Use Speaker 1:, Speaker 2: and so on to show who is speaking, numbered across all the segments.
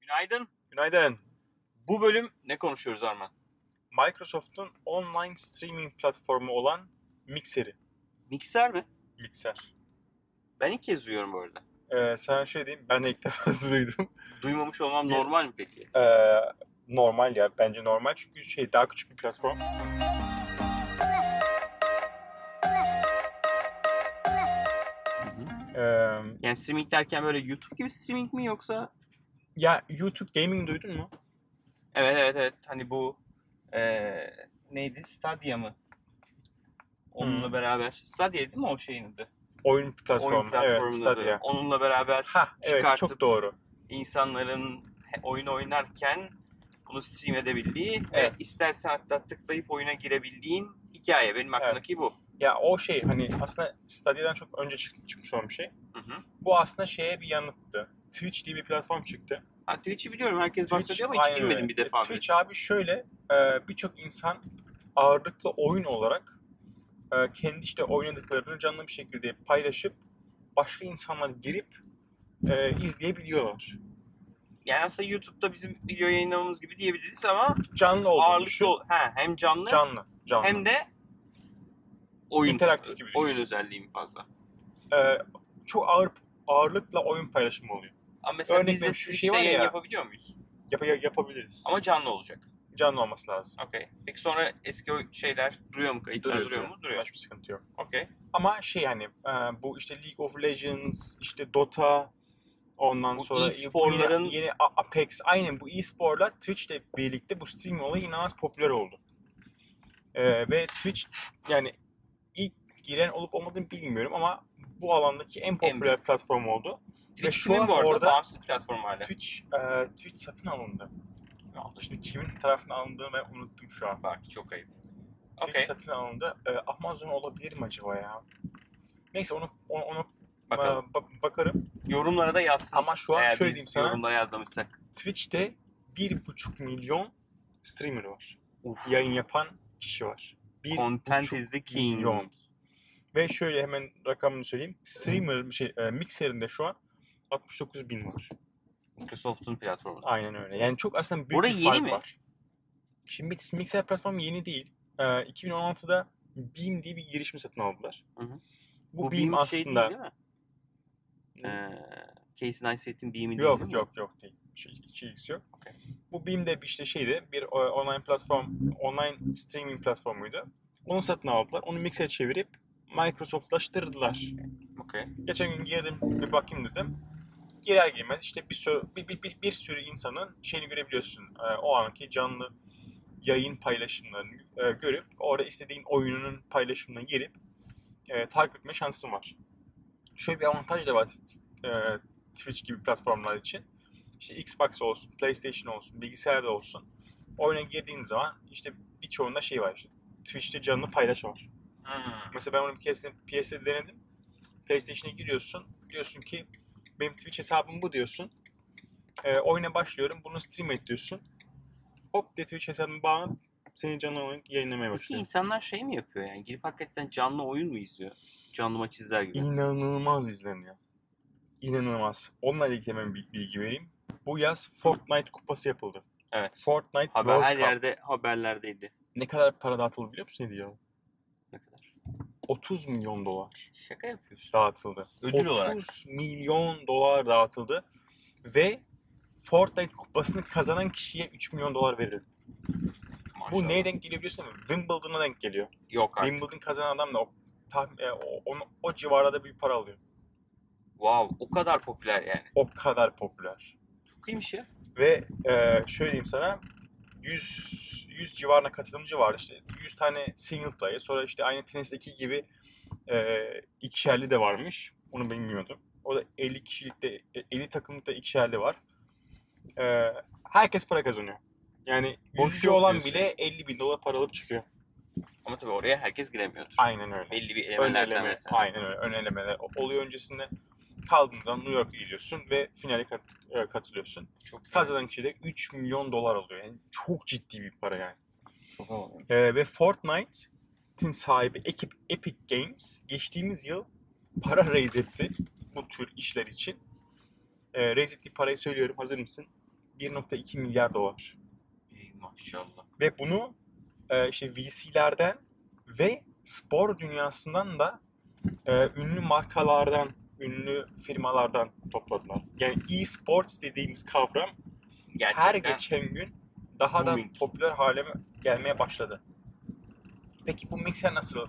Speaker 1: Günaydın.
Speaker 2: Günaydın.
Speaker 1: Bu bölüm ne konuşuyoruz Arman?
Speaker 2: Microsoft'un online streaming platformu olan Mixer'i.
Speaker 1: Mikser mi?
Speaker 2: Mixer.
Speaker 1: Ben ilk kez duyuyorum bu arada.
Speaker 2: Ee, sen şey diyeyim, ben de ilk defa duydum.
Speaker 1: Duymamış olmam
Speaker 2: Bir-
Speaker 1: normal mi peki?
Speaker 2: Ee, normal ya, bence normal çünkü şey daha küçük bir platform. Ee,
Speaker 1: Yani streaming derken böyle YouTube gibi streaming mi yoksa?
Speaker 2: ya YouTube Gaming duydun mu?
Speaker 1: Evet evet evet. Hani bu eee, neydi? Stadia mı? Onunla
Speaker 2: Hmm.
Speaker 1: beraber. Stadia değil mi o şeyin adı?
Speaker 2: Oyun platformu.
Speaker 1: Oyun platformunun
Speaker 2: evet,
Speaker 1: adı.
Speaker 2: Stadia.
Speaker 1: Onunla beraber
Speaker 2: Ha, evet
Speaker 1: Çıkartıp-
Speaker 2: çok doğru.
Speaker 1: insanların he- oyun oynarken bunu stream edebildiği
Speaker 2: Evet.
Speaker 1: ve istersen hatta tıklayıp oyuna girebildiğin hikaye. Benim aklımdaki bu.
Speaker 2: Ya o şey hani aslında Stadia'dan çok önce çık- çıkmış olan bir şey.
Speaker 1: Hı hı.
Speaker 2: Bu aslında şeye bir yanıttı. Twitch diye bir platform çıktı.
Speaker 1: Ha, Twitch'i biliyorum herkes
Speaker 2: Twitch,
Speaker 1: bahsediyor ama hiç
Speaker 2: aynen
Speaker 1: girmedim
Speaker 2: öyle.
Speaker 1: bir defa bile.
Speaker 2: Twitch abi şöyle e, birçok insan ağırlıklı oyun olarak e, kendi işte oynadıklarını canlı bir şekilde paylaşıp başka insanlar girip e, izleyebiliyorlar.
Speaker 1: Yani aslında YouTube'da bizim video yayınlamamız gibi diyebiliriz ama
Speaker 2: Canlı olduğunu düşün.
Speaker 1: ağırlıklı ol- ha, hem canlı,
Speaker 2: Canlı. Canlı.
Speaker 1: hem de oyun.
Speaker 2: İnteraktif gibi düşün.
Speaker 1: Oyun özelliği mi fazla?
Speaker 2: E, çok ağır ağırlıkla oyun paylaşımı oluyor.
Speaker 1: Ama mesela
Speaker 2: Örnek
Speaker 1: biz de
Speaker 2: veriyorum, şu
Speaker 1: Twitch'te
Speaker 2: şey var
Speaker 1: yayın
Speaker 2: ya.
Speaker 1: yapabiliyor muyuz?
Speaker 2: Yap- yap- yapabiliriz. Ama
Speaker 1: Ama canlı olacak.
Speaker 2: canlı olması lazım.
Speaker 1: Okey. Peki sonra eski o şeyler duruyor mu? Kayıtlar duruyor, mu? Duruyor.
Speaker 2: Hiçbir sıkıntı yok.
Speaker 1: Okey.
Speaker 2: Ama şey hani e, bu işte League of Legends, işte Dota, ondan
Speaker 1: Bu
Speaker 2: sonra
Speaker 1: e-sporların-
Speaker 2: bu yeni, yeni A- Apex, aynen bu e-sporla Twitch'le birlikte bu stream olayı inanılmaz popüler oldu. E, ve Twitch yani ilk giren olup olmadığını bilmiyorum ama bu alandaki en popüler platform oldu.
Speaker 1: Twitch
Speaker 2: şu
Speaker 1: kimin
Speaker 2: an
Speaker 1: bu arada?
Speaker 2: orada-
Speaker 1: Bağımsız platform hala.
Speaker 2: Twitch e, Twitch satın alındı. Ne oldu? Şimdi kimin tarafından alındığını ben unuttum şu an.
Speaker 1: Bak çok ayıp.
Speaker 2: Twitch
Speaker 1: Okey.
Speaker 2: satın alındı. E, Amazon olabilir mi acaba ya? Neyse onu onu, onu
Speaker 1: Bakalım.
Speaker 2: e, ba- bakarım.
Speaker 1: Yorumlara da yazsın.
Speaker 2: Ama şu an
Speaker 1: Eğer
Speaker 2: şöyle
Speaker 1: biz
Speaker 2: diyeyim sana.
Speaker 1: yorumlara yazmamışsak.
Speaker 2: Twitch'te 1,5 milyon streamer var.
Speaker 1: Uf.
Speaker 2: Yayın yapan kişi var. Bir
Speaker 1: Content
Speaker 2: buçuk
Speaker 1: is the king.
Speaker 2: milyon. Ve şöyle hemen rakamını söyleyeyim. Streamer şey e, mikserinde şu an 69 bin var.
Speaker 1: Microsoft'un platformu.
Speaker 2: Aynen öyle. Yani çok aslında büyük
Speaker 1: Orayı
Speaker 2: bir
Speaker 1: yeni
Speaker 2: fark
Speaker 1: mi?
Speaker 2: var. Şimdi mikser platformu yeni değil. E, 2016'da Beam diye bir girişim satın aldılar.
Speaker 1: Hı hı.
Speaker 2: Bu, Beam,
Speaker 1: Beam bir şey
Speaker 2: aslında
Speaker 1: değil, değil mi? Ee, Casey Neistat'in Beam'i değil, değil
Speaker 2: Yok
Speaker 1: mi?
Speaker 2: yok yok değil. Şey, hiç ilgisi yok.
Speaker 1: Okey.
Speaker 2: Bu Beam de işte şeydi bir e, online platform, online streaming platformuydu. Onu satın aldılar. Onu mix'e çevirip Microsoft'laştırdılar.
Speaker 1: Okey.
Speaker 2: Geçen gün girdim bir bakayım dedim. Girer girmez işte bir sürü, bir, bir, bir, bir sürü insanın şeyini görebiliyorsun. E, o anki canlı yayın paylaşımlarını e, görüp orada istediğin oyununun paylaşımına girip e, takip etme şansın var. Şöyle bir avantaj da var e, Twitch gibi platformlar için. İşte Xbox olsun, PlayStation olsun, bilgisayarda olsun. Oyuna girdiğin zaman işte birçoğunda şey var işte. Twitch'te canlı paylaş var.
Speaker 1: Hmm.
Speaker 2: Mesela ben onu bir keresinde PS'de denedim. PlayStation'a giriyorsun. Diyorsun ki benim Twitch hesabım bu diyorsun. Ee, oyuna başlıyorum. Bunu stream et diyorsun. Hop diye Twitch hesabını bağlanıp senin canlı oyun yayınlamaya
Speaker 1: Peki
Speaker 2: başlıyor.
Speaker 1: insanlar şey mi yapıyor yani? Girip hakikaten canlı oyun mu izliyor? Canlı maç izler gibi.
Speaker 2: İnanılmaz izleniyor. İnanılmaz. Onunla ilgili hemen bir bilgi vereyim. Bu yaz Fortnite kupası yapıldı.
Speaker 1: Evet.
Speaker 2: Fortnite
Speaker 1: Haber,
Speaker 2: World
Speaker 1: her
Speaker 2: Cup.
Speaker 1: yerde haberlerdeydi.
Speaker 2: Ne kadar para dağıtıldı biliyor musun ne diyor?
Speaker 1: Ne kadar?
Speaker 2: 30 milyon dolar
Speaker 1: Şaka yapıyorsun.
Speaker 2: dağıtıldı.
Speaker 1: Ödül
Speaker 2: 30
Speaker 1: olarak.
Speaker 2: milyon dolar dağıtıldı ve Fortnite kupasını kazanan kişiye 3 milyon dolar verildi. Bu
Speaker 1: Maşallah.
Speaker 2: neye denk geliyor biliyorsun değil mi? Wimbledon'a denk geliyor.
Speaker 1: Yok artık.
Speaker 2: Wimbledon kazanan adam da o, tahmin, e, o, onu- o civarda da bir para alıyor.
Speaker 1: Wow. O kadar popüler yani.
Speaker 2: O kadar popüler.
Speaker 1: Çok iyiymiş ya.
Speaker 2: Ve e, şöyle diyeyim sana 100, 100 civarına katılımcı var. İşte 100 tane single player. Sonra işte aynı tenisteki gibi e, ikişerli de varmış. Onu bilmiyordum. O da 50 kişilikte, 50 takımlıkta ikişerli var. E, herkes para kazanıyor. Yani
Speaker 1: Boş
Speaker 2: yüzücü
Speaker 1: yok
Speaker 2: olan
Speaker 1: diyorsun.
Speaker 2: bile 50 bin dolar para alıp çıkıyor.
Speaker 1: Ama tabii oraya herkes giremiyordur.
Speaker 2: Aynen öyle.
Speaker 1: Belli bir
Speaker 2: Ön
Speaker 1: elemelerden
Speaker 2: eleme,
Speaker 1: mesela.
Speaker 2: aynen öyle. Ön elemeler oluyor öncesinde. Kaldığın zaman New York'a gidiyorsun ve finale kat, e, katılıyorsun.
Speaker 1: Çok iyi.
Speaker 2: kazanan kişi de 3 milyon dolar alıyor. Yani çok ciddi bir para yani.
Speaker 1: Çok havalı.
Speaker 2: Ee, ve Fortnite'in sahibi ekip Epic Games geçtiğimiz yıl para raise etti bu tür işler için. Ee, raise ettiği parayı söylüyorum. Hazır mısın? 1.2 milyar dolar.
Speaker 1: Ey maşallah.
Speaker 2: Ve bunu e, işte VC'lerden ve spor dünyasından da e, ünlü markalardan, ünlü firmalardan topladılar. Yani e-sports dediğimiz kavram
Speaker 1: Gerçekten.
Speaker 2: her geçen gün daha da
Speaker 1: Booming.
Speaker 2: popüler hale gelmeye başladı. Peki bu mikser nasıl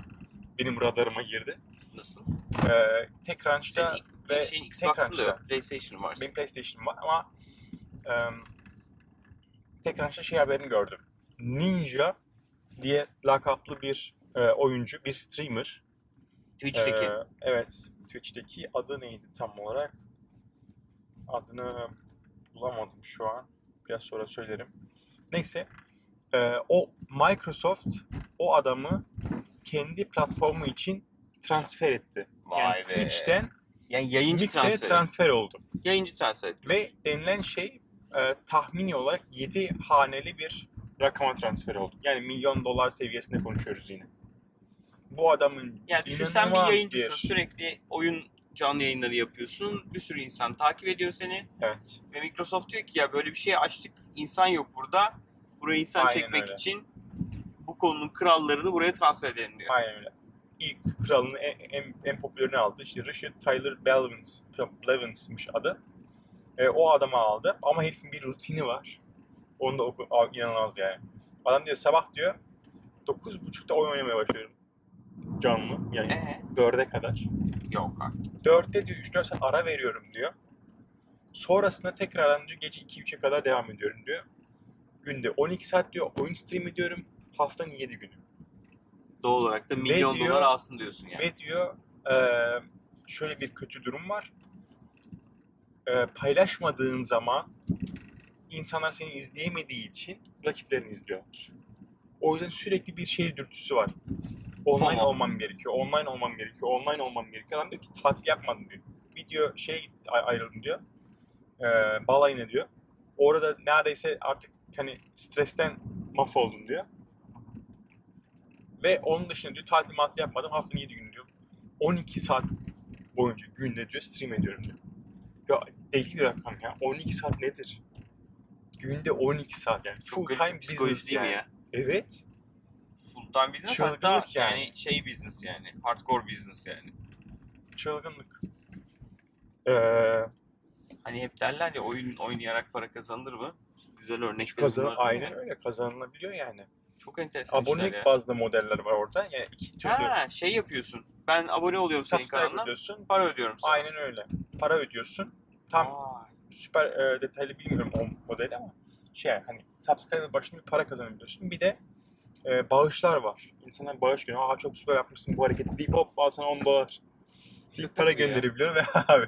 Speaker 2: benim radarıma girdi?
Speaker 1: Nasıl?
Speaker 2: Ee, tek ranchta
Speaker 1: Senin ilk,
Speaker 2: ve
Speaker 1: şeyin
Speaker 2: tekrar
Speaker 1: Xbox'ın da
Speaker 2: işte.
Speaker 1: yok. PlayStation'ın var.
Speaker 2: benim PlayStation'ım var ama em, tek ranchta şey haberini gördüm. Ninja diye lakaplı bir e, oyuncu, bir streamer.
Speaker 1: Twitch'teki.
Speaker 2: Ee, evet. Twitch'teki adı neydi tam olarak? Adını bulamadım şu an. Biraz sonra söylerim. Neyse. ee, o Microsoft o adamı kendi platformu için transfer etti.
Speaker 1: Vay
Speaker 2: yani
Speaker 1: be.
Speaker 2: Twitch'ten
Speaker 1: Yani yayıncı
Speaker 2: Mixer'e
Speaker 1: transferi.
Speaker 2: transfer oldu.
Speaker 1: yayıncı transferi.
Speaker 2: Ve denilen şey e, tahmini olarak 7 haneli bir rakama transfer oldu. Yani milyon dolar seviyesinde konuşuyoruz yine. Bu adamın
Speaker 1: Yani düşün sen bir
Speaker 2: İnanılmaz
Speaker 1: yayıncısın.
Speaker 2: bir-
Speaker 1: Sürekli oyun canlı yayınları yapıyorsun. Bir sürü insan takip ediyor seni.
Speaker 2: evet,
Speaker 1: Ve Microsoft diyor ki ya böyle bir şey açtık. İnsan yok burada. Buraya insan
Speaker 2: Aynen
Speaker 1: çekmek
Speaker 2: öyle.
Speaker 1: için bu konunun krallarını buraya transfer edelim diyor.
Speaker 2: Aynen öyle. İlk kralın en, en, en popülerini aldı. İşte Richard Tyler Blevins, Blevins'miş adı. E, o adamı aldı. Ama herifin bir rutini var. Onu da oku, a- inanılmaz yani. Adam diyor sabah diyor 9.30'da oyun oynamaya başlıyorum. Canlı. Yani
Speaker 1: Ee,
Speaker 2: 4'e kadar.
Speaker 1: yok artık.
Speaker 2: 4'te diyor 3-4 saat ara veriyorum diyor. Sonrasında tekrardan diyor gece 2-3'e kadar devam ediyorum diyor. Günde 12 saat diyor oyun stream ediyorum. Haftanın 7 günü.
Speaker 1: Doğal olarak da milyon
Speaker 2: diyor-
Speaker 1: dolar alsın diyorsun yani.
Speaker 2: Ve diyor eee, şöyle bir kötü durum var. Eee, paylaşmadığın zaman insanlar seni izleyemediği için rakiplerini izliyorlar. O yüzden sürekli bir şey dürtüsü var. Online
Speaker 1: FOMO.
Speaker 2: olmam gerekiyor, online olmam gerekiyor, online olmam gerekiyor. Adam diyor ki tatil yapmadım diyor. Bir diyor şeye gitti, ay- ayrıldım diyor. Eee balayına diyor. Orada neredeyse artık hani stresten mahvoldum diyor. Ve onun dışında diyor tatil matil yapmadım haftanın 7 günü diyor. 12 saat boyunca günde diyor stream ediyorum diyor. Ya deli bir rakam ya. 12 saat nedir? Günde 12 saat yani.
Speaker 1: Çok
Speaker 2: Full
Speaker 1: garip
Speaker 2: time
Speaker 1: bir psikoloji
Speaker 2: business
Speaker 1: değil mi
Speaker 2: yani.
Speaker 1: ya?
Speaker 2: Evet.
Speaker 1: Full time business
Speaker 2: Çılgınlık
Speaker 1: hatta yani.
Speaker 2: yani.
Speaker 1: şey business yani. Hardcore business yani.
Speaker 2: Çılgınlık. Ee,
Speaker 1: Hani hep derler ya oyun oynayarak para kazanılır mı? Güzel örnek.
Speaker 2: kazan, aynen öyle kazanılabiliyor yani.
Speaker 1: Çok enteresan işler
Speaker 2: Abonelik
Speaker 1: ya.
Speaker 2: bazlı modeller var orada. Yani iki türlü
Speaker 1: Ha şey yapıyorsun. Ben abone oluyorum senin
Speaker 2: subscribe
Speaker 1: kanalına.
Speaker 2: ödüyorsun.
Speaker 1: Para ödüyorum sana.
Speaker 2: Aynen öyle. Para ödüyorsun. Tam
Speaker 1: Vay.
Speaker 2: süper e, detaylı bilmiyorum o modeli ama şey yani hani subscriber başına bir para kazanabiliyorsun. Bir de e, bağışlar var. İnsanlar bağış günü. Aa çok süper yapmışsın bu hareketi deyip hop al sana 10 dolar. İlk para
Speaker 1: Ya.
Speaker 2: gönderebiliyor ve abi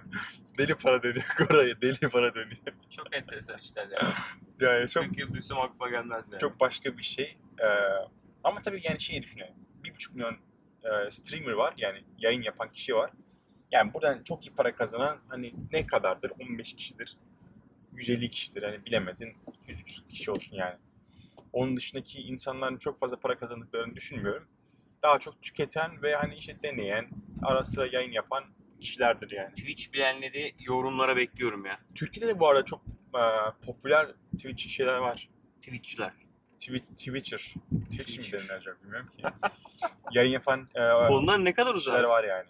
Speaker 2: deli para dönüyor. Oraya deli para dönüyor.
Speaker 1: Çok enteresan işler ya.
Speaker 2: Yani çok
Speaker 1: Türk yıl duysam aklıma gelmez yani.
Speaker 2: çok başka bir şey. E, ama tabii yani şeyi düşünüyorum. 1,5 milyon e, streamer var. Yani yayın yapan kişi var. Yani buradan çok iyi para kazanan hani ne kadardır? 15 kişidir. 150 kişidir. Hani bilemedin 100 kişi olsun yani. Onun dışındaki insanların çok fazla para kazandıklarını düşünmüyorum. Daha çok tüketen ve hani işte deneyen, ara sıra yayın yapan kişilerdir yani.
Speaker 1: Twitch bilenleri yorumlara bekliyorum ya.
Speaker 2: Türkiye'de de bu arada çok e, popüler Twitch şeyler var.
Speaker 1: Twitch'çiler.
Speaker 2: Twi- Twitcher. Twitch mi
Speaker 1: Twitcher.
Speaker 2: denir acaba bilmiyorum ki. Yayın yapan e,
Speaker 1: Onlar ne kadar
Speaker 2: kişiler
Speaker 1: uzak.
Speaker 2: var yani.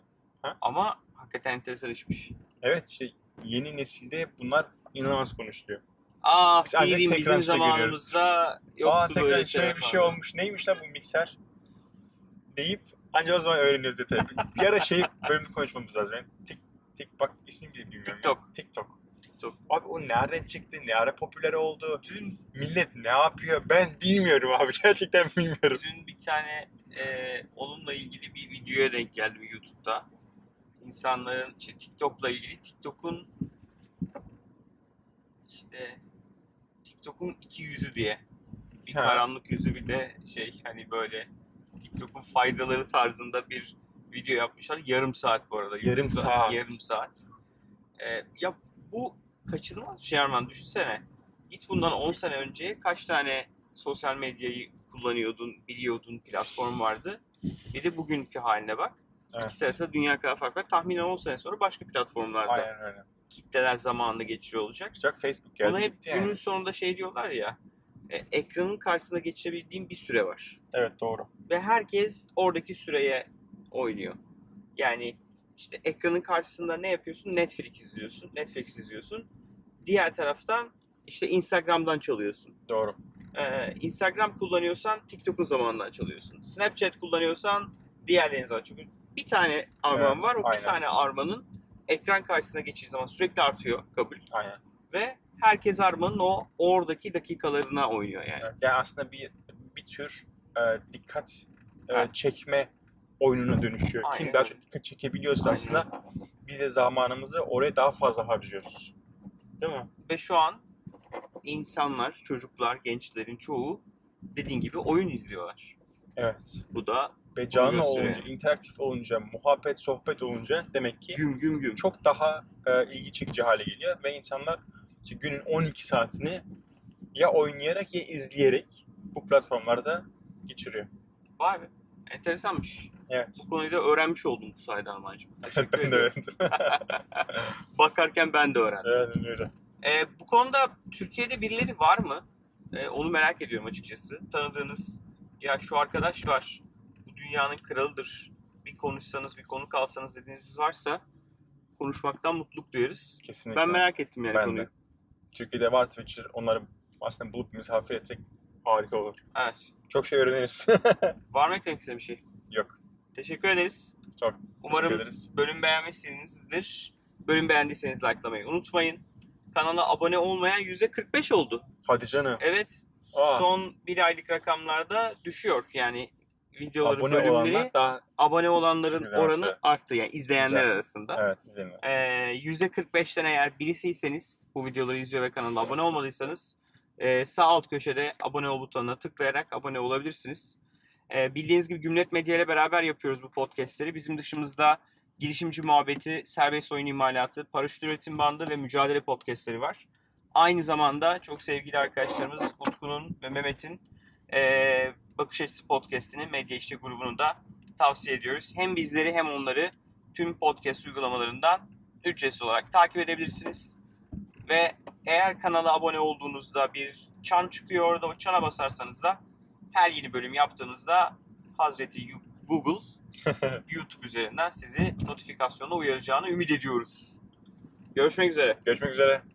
Speaker 1: Ama hakikaten enteresan işmiş.
Speaker 2: Evet işte yeni nesilde bunlar inanılmaz konuşuluyor.
Speaker 1: Ah
Speaker 2: Biz ancak
Speaker 1: TV
Speaker 2: tekrar
Speaker 1: bizim
Speaker 2: işte
Speaker 1: zamanımızda yoktu
Speaker 2: Aa tekrar
Speaker 1: böyle
Speaker 2: şöyle
Speaker 1: şeyler
Speaker 2: bir şey
Speaker 1: falan.
Speaker 2: olmuş. Neymiş lan bu mikser? Deyip ancak o zaman öğreniyoruz detayı. bir ara şey bölümü konuşmamız lazım. Yani tik tik bak ismi bile bilmiyorum. ya.
Speaker 1: TikTok.
Speaker 2: TikTok.
Speaker 1: TikTok.
Speaker 2: Abi o nereden çıktı? Ne ara popüler oldu?
Speaker 1: Dün,
Speaker 2: Millet ne yapıyor? Ben bilmiyorum abi. Gerçekten bilmiyorum.
Speaker 1: dün bir tane e, onunla ilgili bir videoya denk geldim YouTube'da. İnsanların işte TikTok'la ilgili TikTok'un işte TikTok'un iki yüzü diye bir
Speaker 2: Ha.
Speaker 1: karanlık yüzü bir de şey hani böyle TikTok'un faydaları tarzında bir video yapmışlar. Yarım saat bu arada.
Speaker 2: Yarım
Speaker 1: YouTube'da
Speaker 2: saat.
Speaker 1: Yarım saat. Ee, ya bu kaçınılmaz bir şey Erman. Düşünsene. Git bundan 10 sene önce kaç tane sosyal medyayı kullanıyordun, biliyordun, platform vardı. Bir de bugünkü haline bak.
Speaker 2: Evet.
Speaker 1: İkisi arasında dünya kadar fark var. Tahminen 10 sene sonra başka platformlarda
Speaker 2: Aynen öyle.
Speaker 1: kitleler zamanında geçiriyor olacak.
Speaker 2: Çıkacak Facebook geldi
Speaker 1: Ona hep
Speaker 2: gitti yani.
Speaker 1: günün sonunda şey diyorlar ya. e, ekranın karşısında geçebildiğim bir süre var.
Speaker 2: Evet doğru.
Speaker 1: Ve herkes oradaki süreye oynuyor. Yani işte ekranın karşısında ne yapıyorsun? Netflix izliyorsun. Netflix izliyorsun. Diğer taraftan işte Instagram'dan çalıyorsun.
Speaker 2: Doğru.
Speaker 1: Ee, Instagram kullanıyorsan TikTok'un zamanından çalıyorsun. Snapchat kullanıyorsan diğerlerini zaman. Çünkü bir tane arman
Speaker 2: Evet,
Speaker 1: var. O
Speaker 2: aynen.
Speaker 1: bir tane armanın ekran karşısına geçtiği zaman sürekli artıyor kabul
Speaker 2: Aynen.
Speaker 1: ve herkes Arma'nın o oradaki dakikalarına oynuyor yani.
Speaker 2: Evet. Yani aslında bir bir tür e, dikkat e,
Speaker 1: Ha.
Speaker 2: çekme oyununa dönüşüyor. Kim
Speaker 1: Aynen
Speaker 2: daha
Speaker 1: öyle.
Speaker 2: çok dikkat çekebiliyorsa
Speaker 1: Aynen.
Speaker 2: aslında biz de zamanımızı oraya daha fazla harcıyoruz.
Speaker 1: Değil mi? Ve şu an insanlar, çocuklar, gençlerin çoğu dediğin gibi oyun izliyorlar.
Speaker 2: Evet.
Speaker 1: Bu da
Speaker 2: Ve canlı
Speaker 1: gösteriyor.
Speaker 2: olunca, interaktif olunca, muhabbet, sohbet olunca demek ki
Speaker 1: güm güm güm.
Speaker 2: çok daha e, ilgi çekici hale geliyor ve insanlar işte günün 12 saatini ya oynayarak ya izleyerek bu platformlarda geçiriyor.
Speaker 1: Vay be. Enteresanmış.
Speaker 2: Evet.
Speaker 1: Bu konuyu da öğrenmiş oldum bu sayede Armağan'cığım. Teşekkür
Speaker 2: ben de
Speaker 1: ederim.
Speaker 2: öğrendim.
Speaker 1: Bakarken ben de öğrendim.
Speaker 2: Aynen öyle.
Speaker 1: Ee, bu konuda Türkiye'de birileri var mı? Ee, onu merak ediyorum açıkçası. Tanıdığınız, ya şu arkadaş var, bu dünyanın kralıdır. Bir konuşsanız, bir konuk alsanız dediğiniz varsa konuşmaktan mutluluk duyarız.
Speaker 2: Kesinlikle.
Speaker 1: Ben merak ettim yani
Speaker 2: Ben de.
Speaker 1: konuyu.
Speaker 2: Türkiye'de var Twitcher. Onları aslında bulup misafir etsek harika olur.
Speaker 1: Evet.
Speaker 2: Çok şey öğreniriz.
Speaker 1: Var mı eklemek istediğim bir şey?
Speaker 2: Yok.
Speaker 1: Teşekkür ederiz.
Speaker 2: Çok
Speaker 1: Umarım
Speaker 2: Teşekkür ederiz.
Speaker 1: bölüm beğenmişsinizdir. Bölüm beğendiyseniz likelamayı unutmayın. Kanala abone olmayan %45 oldu.
Speaker 2: Hadi canım.
Speaker 1: Evet.
Speaker 2: Aa,
Speaker 1: Son bir aylık rakamlarda düşüşüyor. Yani videoları,
Speaker 2: abone
Speaker 1: bölümleri
Speaker 2: olanlar daha
Speaker 1: abone olanların
Speaker 2: Güzel
Speaker 1: oranı
Speaker 2: şey.
Speaker 1: arttı yani izleyenler
Speaker 2: Güzel.
Speaker 1: arasında.
Speaker 2: evet izlemiyor.
Speaker 1: Ee, %45'ten eğer birisiyseniz bu videoları izliyor ve kanala abone olmadıysanız e, sağ alt köşede abone ol butonuna tıklayarak abone olabilirsiniz. Ee, bildiğiniz gibi Gümlet Medya ile beraber yapıyoruz bu podcastleri. Bizim dışımızda girişimci muhabbeti, serbest oyun imalatı, paraşüt üretim bandı ve mücadele podcastleri var. Aynı zamanda çok sevgili arkadaşlarımız Utku'nun ve Mehmet'in e, Bakış Açısı podcastini Medya İşçi grubunu da tavsiye ediyoruz. Hem bizleri hem onları tüm podcast uygulamalarından ücretsiz olarak takip edebilirsiniz. Ve eğer kanala abone olduğunuzda bir çan çıkıyor orada o çana basarsanız da her yeni bölüm yaptığınızda Hazreti Yu- Google YouTube üzerinden sizi notifikasyonla uyaracağını ümit ediyoruz. Görüşmek üzere.
Speaker 2: Görüşmek üzere.